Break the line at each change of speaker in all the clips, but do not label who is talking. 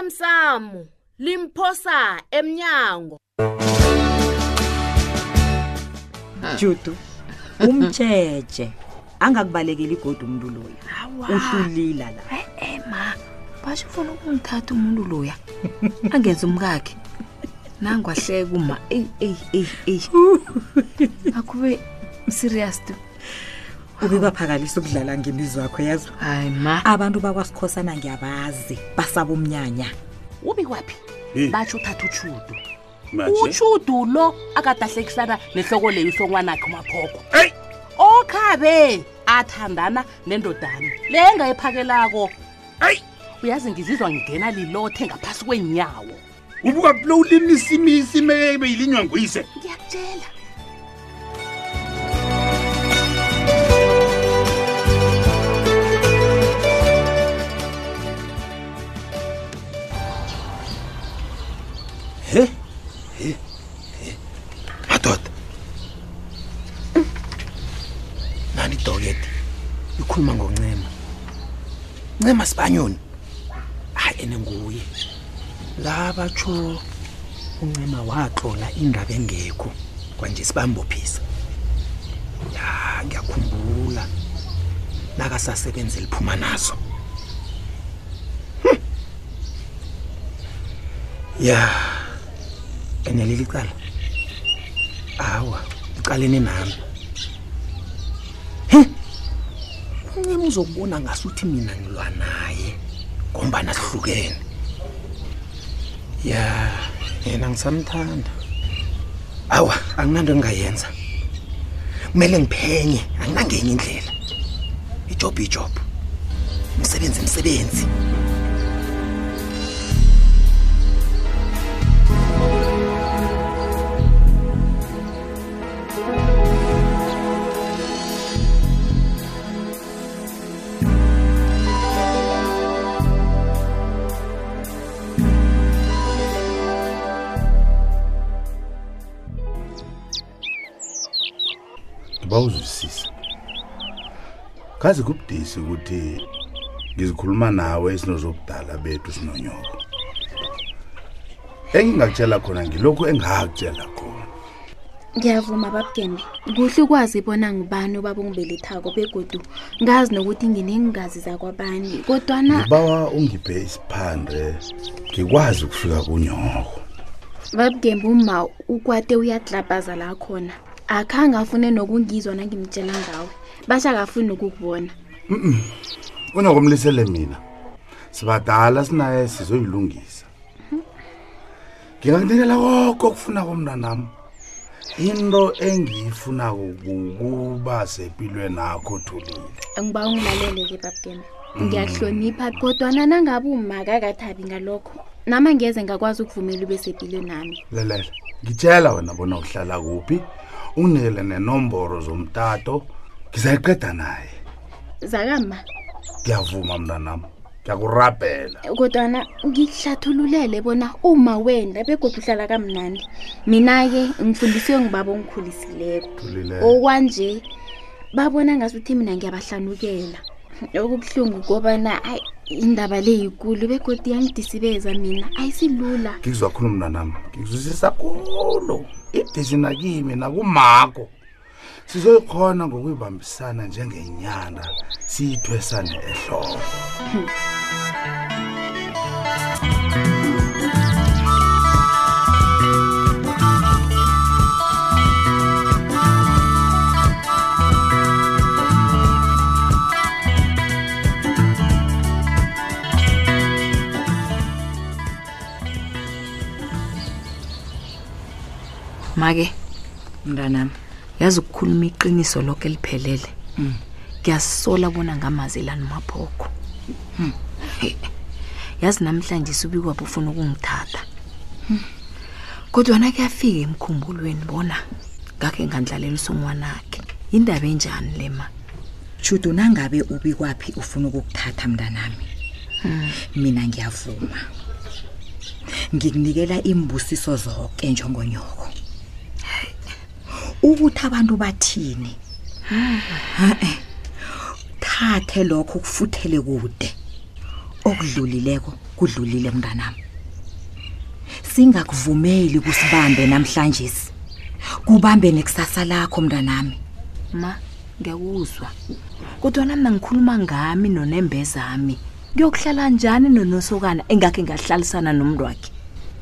osemsamo limphosa emnyango
judu umtsheje angakubalekeli igodi umntu loya uhlulila la
e-e ma basho ufuna ukungithatha umuntu loya angenza umkakhe nangwahleka uma eyi eyi eyi eyi akube serious tu
uke kwaphakalisa ukudlala ngemizwa yakho yazo
hayi ma
abantu bakwasikhosana ngiyabazi basaba umnyanya
ubi kwaphi
Eh.
batsho uthatha utshudu
manje
utshudu lo akadahlekisana nehloko leyo usongwanakhe umaphoko
Hey!
okhabe athandana nendodana le engayiphakelako
hayi
uyazi ngizizwa ngingena lilothe ngaphasi kwenyawo
ubuka kulo ulimisimisi mebe yilinywa nguyise
ngiyakutshela
madoda nani idokete ikhuluma ngoncema ncema sibanyoni hayi ene nguye la batsho uncema waxola indaba engekho kwanje sibambophisa ya ngiyakhumbula nakasasebenza eliphuma nazo Hm. ya ene leli cala awa icalene nami he uncema uzokubona ngasuthi mina ngilwa naye ngombana sihlukene ya yena ngisamthanda awa anginanto engingayenza kumele ngiphenye anginangenye indlela ijob ijob umsebenzi msebenzi
ngibawuzwisisa kazi kubudisi ukuthi ngizikhuluma nawe isinozobudala bethu sinonyoko engingakutshela khona ngilokhu engakutshela khona
ngiyavuma babukene kuhle ukwazi bona ngubani obaba ongibelethako begodu ngazi nokuthi ngineengazi zakwabani kodwana
ngibawa ungiphe isiphande ngikwazi ukufika kunyoko
babugembe uma ukwate uyadlabaza la khona akhange afune nokungizwa nangimtshela ngawe basha akafuni nokukubona
unokumlisele mina sibadala sinaye sizoyilungisa ngingakunikela koko okufuna komntanami into engiyifunako kukuba sepilweni akho thulile
ngiba ungilalele-ke babugembe ngiyakuhlonipha kodwana nangabe umakakathabi ngalokho nama ngeze ngakwazi ukuvumela ube sepilo nami
lelela ngitshela wena bona uhlala kuphi unginikele nenomboro zomtato ngizayiqeda naye
zakama
ngiyavuma mntanami ngiyakurabhela
kodwana ngikuhlathululele bona uma wenda begodwa uhlala kamnandi mina-ke ngifundisiwe ngibaba ongikhulisileyo
thulile
okwanje babona ngasuthi mina ngiyabahlanukela okubuhlungu kobana ayi indaba le yikulu begodi yangidisibeza mina ayisilula
ngikuzakhuluma mntanami ngikuzwisisa kulo idisi nakimi nakumako sizoyikhona ngokuyibambisana njengenyanda siyithwesane ehlobo
make mntanami yazi ukukhuluma iqiniso lonke liphelele ngiyasola bona ngamazelani maphoko Hmm. He. yazi namhlanje subikwabo ufuna ukungithatha Hmm. kodwana kuyafika emkhumbulweni bona ngakhe ngandlalelisa umwanakhe yindaba enjani le ma
judu nangabe ubi kwaphi ufuna ukukuthatha mntanami mina ngiyavuma ngikunikela imbusiso zonke njengonyoko ukuthi abantu bathini ha-e thathe lokho kufuthele kude okudlulileko kudlulile mntanami singakuvumeli kusibambe namhlanje kubambe nekusasa lakho mntanami
ma ngiyakuzwa kodwana mna ngikhuluma ngami nonembezami kuyokuhlala njani nonosokana engakhe ngahlalisana nomntu wakhe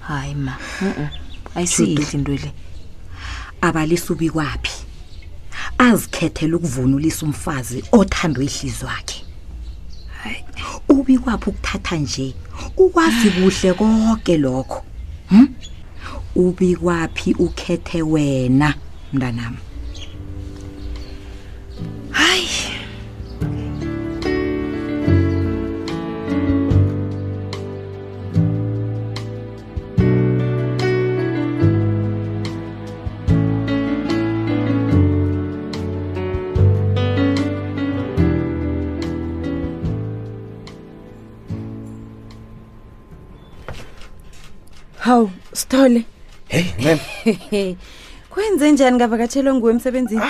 hayi ma mm-mm, ayisiyihle into le
abalisubi kwaphi azikhethela ukuvunulisa umfazi othandwe ihliziyo yakhe ubi kwaphi ukuthatha nje ukwazi kuhle konke lokho hm? ubi kwaphi ukhethe wena mntanami
hawu sithole
heyi nene
kwenze njani ngavakatshelwa nguwe emsebenzini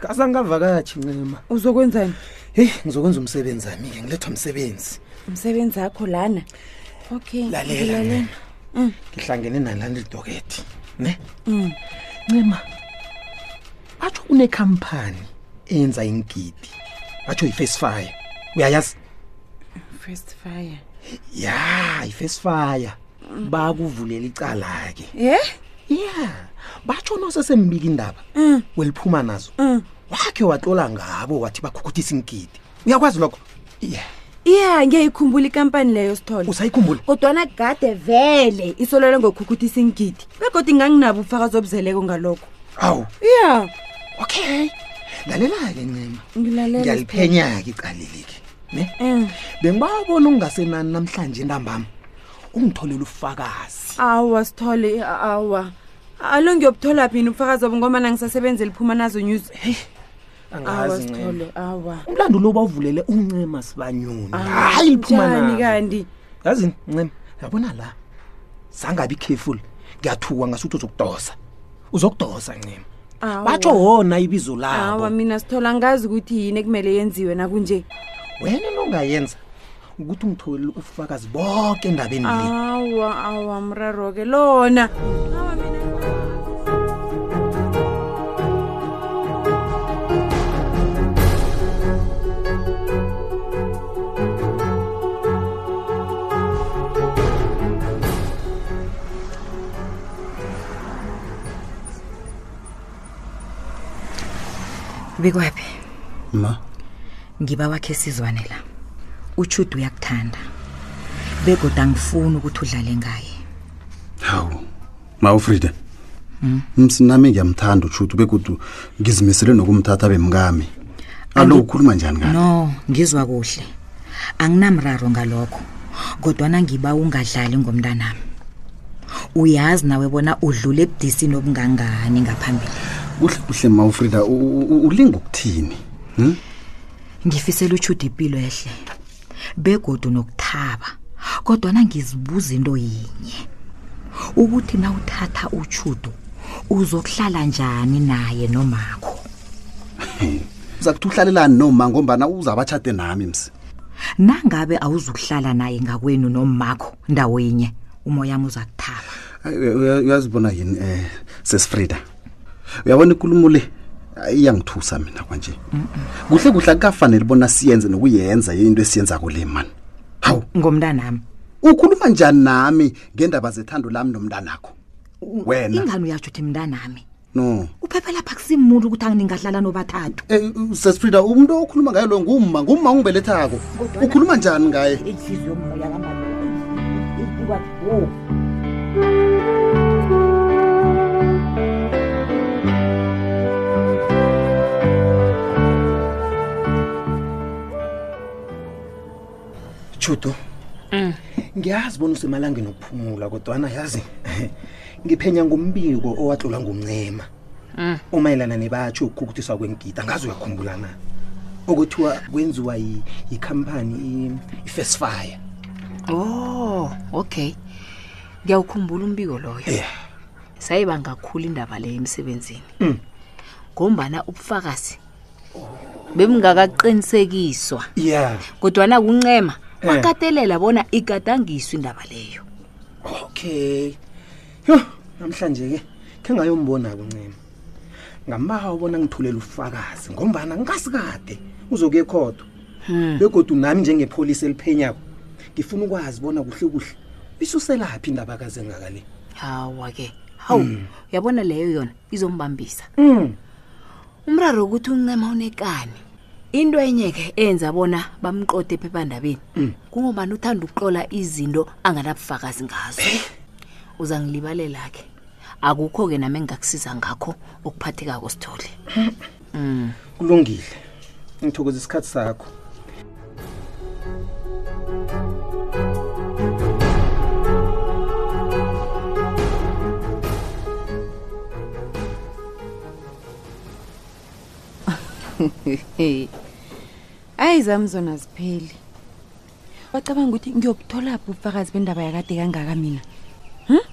kazangavakatshi ncema
uzokwenzani
heyi ngizokwenza umsebenzi ami-ke ngilethwa msebenzi
umsebenzi akho lana okay Mm.
lalela
ngilalela.
nena ngihlangene nalani lidoketi ne
Mm.
ncema atsho kunekhampani eyenza ingidi atsho yi-face fire uyayazi
first fire Mm.
ya i-face fire bakuvulela icala-ke
ye
ya batsho nosesembika indaba
Mm.
weliphuma nazo wakhe watlola ngabo wathi bakhukuthisa ingidi uyakwazi lokho ya
iya ngiyayikhumbula ikampani leyo sithole
usayikhumbula
kodwana gade vele isolelwe ngokhukuthisa ingidi begodwa inganginabo ubufakazi obuzeleko ngalokho
awu
iya
okay lalela-ke ncema
ngilalela
ngiyaliphenya-ke icalelike ne
Mm.
bengibabona ungasenani namhlanje entambama ungitholele ufakazi
awa sithole a- awa alo ngiyobuthola phini ubufakazi obo ngomana ngisasebenzi liphuma nazo news awa
angazi ncema
sithole awa
umlando lo bawuvulele uncema sibanyoni hayi liphuma
njani
nazo
kanti
yazini ncema yabona la zangabi careful ngiyathuka ngasuthi uzokudosa uzokudosa ncema
Awa.
batsho wona ibizo
awa
labo
mina sithola ngazi ukuthi yini ekumele yenziwe nakunje
wena nongayenza ukuthi ungitholele ufakazi bonke endabeni le
awa awa mraro-ke lona
bikwaphi
ma
ngiba wakhe sizwane la uchudo uyakuthanda begoda angifuni ukuthi udlale ngaye
hawu ma ufrida msi nami ngiyamthanda utshuti bekudu ngizimisele nokumthatha bemkami alo
Angi-
ukhuluma njani ngani
no ngizwa kuhle anginamraro ngalokho kodwana ngiba ungadlali ngomntanami uyazi nawe bona udlule ebudisini obungangani ngaphambili
kuhle kuhle ma ufrida u- u- ulinga ukuthini Hmm?
ngifisela utshuda impilo ehle begodu nokuthaba kodwana ngizibuza into yinye ukuthi nawuthatha utshudo uzokuhlala njani naye nomakho
uzakuthi uhlalelani noma ngombana uzabatshate nami msi
nangabe awuzukuhlala naye ngakwenu nomakho ndawo yinye umoya wami uzakuthaba
Ay, uya- uya- uyazibona yini um sesifrida uyabona ikulumo le ay, iyangithusa mina kwanje kuhle kuhle akukafanele bona siyenze nokuyenza into esiyenzako le mani hawu
ngomntanami
ukhuluma njani nami ngendaba zethando lami nomntanakho Wena.
ingani uyatsho uthi mntanami
no
uphepha lapha kusimuntu ukuthi angingadlala nobathathu
Eh, sesifrida umuntu okhuluma ngayo lo ngumma ngumma ungibelethako ukhuluma njani ngaye
inhliziyo yomoya kamaikwathi
chudo ngiyazi bona usemalangeni okuphumula kodwana yazi ngiphenya ngombiko owatlolwa ngumncema umayelana nebatsho ukukhukuthiswa kwengida ngazi uyakhumbula na okuthiwa kwenziwa yi- yikhampani i- i-first fire
oh okay Eh. ngiyawukhumbula umbiko loyo
Yeah.
sayiba ngakhulu indaba leyo emsebenzini ngombana ubufakazi bebungakaqinisekiswa
ya
kodwana kuncema
Eh.
wakatelela bona igadangiswe indaba leyo
okay yho namhlanje-ke khe ngayombona-ke uncema ngamaha ubona ngithulela ufakazi ngombana ngasikade uzokuye khodo begodwa nami njengepholisi eliphenyako ngifuna ukwazi bona kuhle kuhle isuselaphi indaba kazengaka le
hawa-ke hawu uyabona leyo yona izombambisa
Mm,
umraro ukuthi uncema unekani into enye-ke enza bona bamqote ephephandabeni kungobani uthanda ukuxola izinto anganabufakazi ngazo uzangilibalela-ke akukho-ke nami engingakusiza ngakho okuphathekako sithole
kulungile ngithokoza isikhathi sakho
hayi zami zona zipheli wacabanga ukuthi ngiyobutholaphi ubufakazi bendaba yakade kangaka mina hm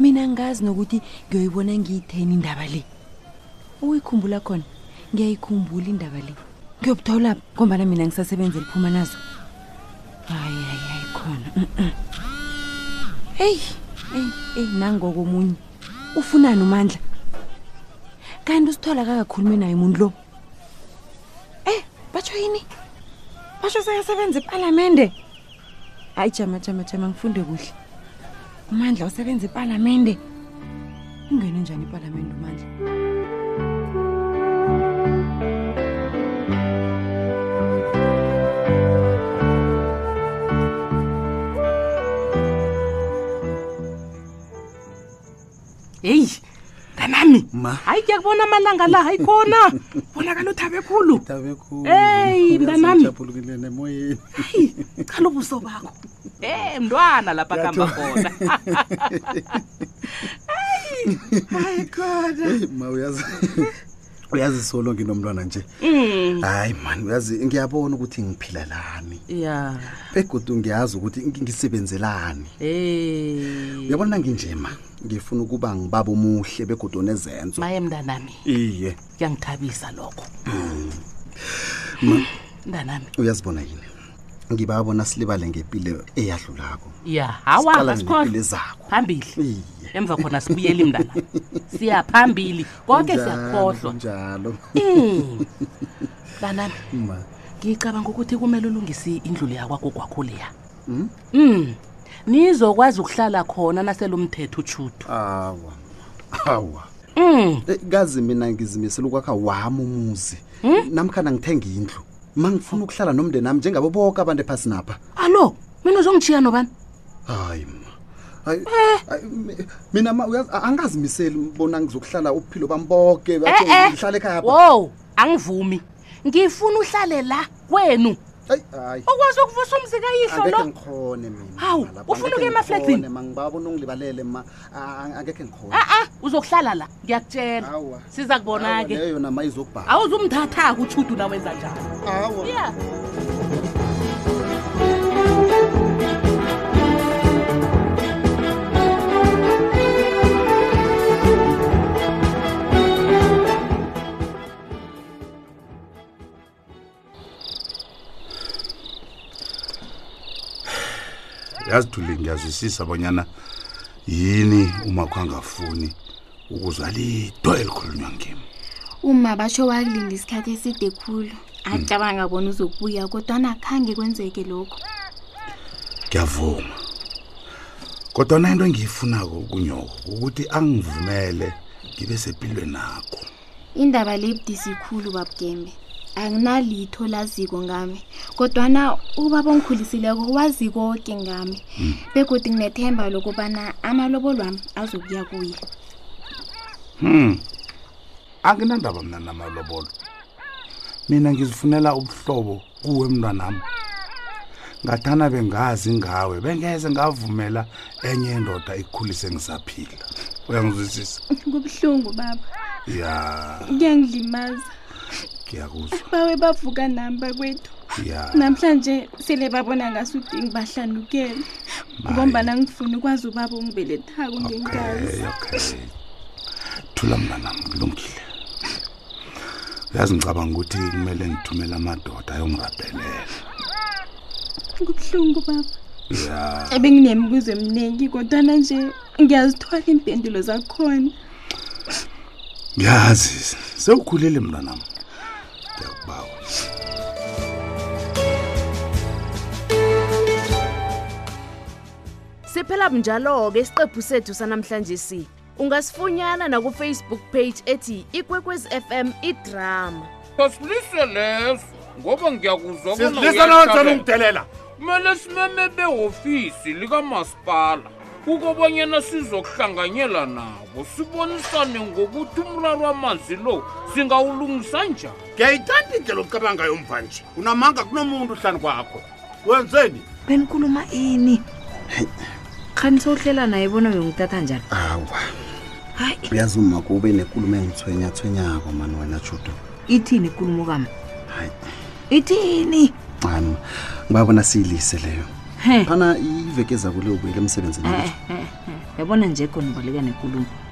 mina ngazi nokuthi ngiyoyibona ngiyitheni indaba le uyikhumbula khona ngiyayikhumbula indaba le ngiyobutholaphi ngombana mina ngisasebenza liphuma nazo hayi hayi hayi khona mm-mm. heyi eyi eyi nangokomunye ufunani umandla kanti usithola kakakhulume naye umuntu lo Eh, batsho yini? Basho seyasebenza ePalamende. Hayi jama jama jama ngifunde kuhle. Umandla usebenza ePalamende. Ungene njani ePalamende umandla?
heyi nganami
Ma.
hayi kuyakubona amalanga la hayi khona bonakala uthabe khulu Hey, mntanami.
mntanami
cala ubuso bakho e mntwana lapha kamba khona
Hey, ma uyazi uyazi solo nginomntwana nje hayi mani uyazi ngiyabona ukuthi ngiphila lani
ya
begodu ngiyazi ukuthi ngi- ngisebenzelani
e
uyabona nginjema ngifuna ukuba ngibaba omuhle begodu nezenzo
maye mntanami
iye Mm.
kuyangithabisa lokho mntanami
uyazibona yini ngibabona silibale ngempilo eyadlulako
ya hawa
Siqala
asikhohle
ngempilo ezako.
phambili
iye
emva khona sibuyeli mntanami siyaphambili konke
Kunjalo,
siyakhohlwa
kunjalo
Mm. mntanami
ma
ngicabanga ukuthi kumele ulungise indlu yakwakho kwakho leya mm nizokwazi ukuhlala khona naselomthetho utshudu
awa awa
mm
Eh, kazi mina ngizimisela ukwakha wami umuzi
Hmm?
namkhana ngithenga indlu ma ngifuna ukuhlala nomndeni nami njengabo boke abantu ephasi napha
allo mina uzongijiya nobani
hayi ma Hayi,
Eh.
hayi, mi- mina ma uyazi a- angazimiseli bona ngizokuhlala ubuphilo bami boke bathe
Eh, eh.
ngihlale ekhaya apha.
wo angivumi ngifuna uhlale la kwenu
Hayi, hayi
ukwazi ukuvusa umzi kayihlo
angekhe
lo
ngikhone mina
Hawu,
lapha,
ufuna
angekhe
ukuya emafledini?
ngikhone, ma ngibabona ungilibalele ma a- a- angekhe ngikhone
a-a uzokuhlala la ngiyakutshela
Awa.
siza
Awa,
kubona-ke
leyo yona ma izokubhala
awuzumthathaka utshudu nawenza njalo
awa
ya
yazi thule ngiyazwisisa abanyana yini umakho angafuni ukuzwa lidwa elikhulunywa ngimi
uma basho wakulinda isikhathi eside khulu acabanga bona uzokubuya kodwana khange kwenzeke lokho
ngiyavuma kodwana into engiyifunako kunyoko ukuthi angivumele ngibe sepilwe nakho
indaba le budisi khulu babugembe anginalitho laziko ngami kodwana ubaba ongikhulisileko wazi koke ngami begodi nginethemba lokubana amalobo lwami azokuya kuye
hmm anginandaba mna namalobolo mina ngizifunela ubuhlobo kuwe mntwanami ngathana bengazi ngawe bengeze ngavumela enye indoda ikhulise ngisaphila uyangizwisisa
kubuhlungu baba
ya
kuyangilimaza
ngiyakuzwa
bawe bavuka nami bakwethu
ya
namhlanje sele babona ngasuthi ngibahlanukele ngombana ngifuna ukwazi ubaba ongibelethako ngenkazi
okay okay thula mnanami kulungile uyazi ngicabanga ukuthi kumele ngithumele amadoda ayongirabhelela
kubuhlungu baba ebenginemibuzo eminingi kodwana nje ngiyazithola iimpendulo zakhona
ngiyazi sewukhulile mntanam ndiyakubawa
siphela bunjalo-ke isiqephu sethu sanamhlanje si ungasifunyana nakufacebook page ethi ikwekwezi fm idrama
asilise leso ngoba ngiyakuzwa bona
lisanaatshana
uyashabela.
ungidelela
kumele simeme behofisi likamasipala ukobanyana sizokuhlanganyela nabo sibonisane ngokuthi umraro wamanzi lo singawulungisa njani
ngiyayithanda indlela ocabangayo umva nje unamanga kunomuntu hlani kwakho wenzeni
benikhuluma ini khani sowuhlela naye bona uyongithatha njani
awa
hayi
uyazi uma kube nenkulumo engithwenyathwenyako mani wena judo
ithini ikulumo kama
hayi
ithini
cam ngibabona siyilise leyo
he
phana iveke ezakule ubuyele emsebenzini
yabona nje khona ubaleka nekulumo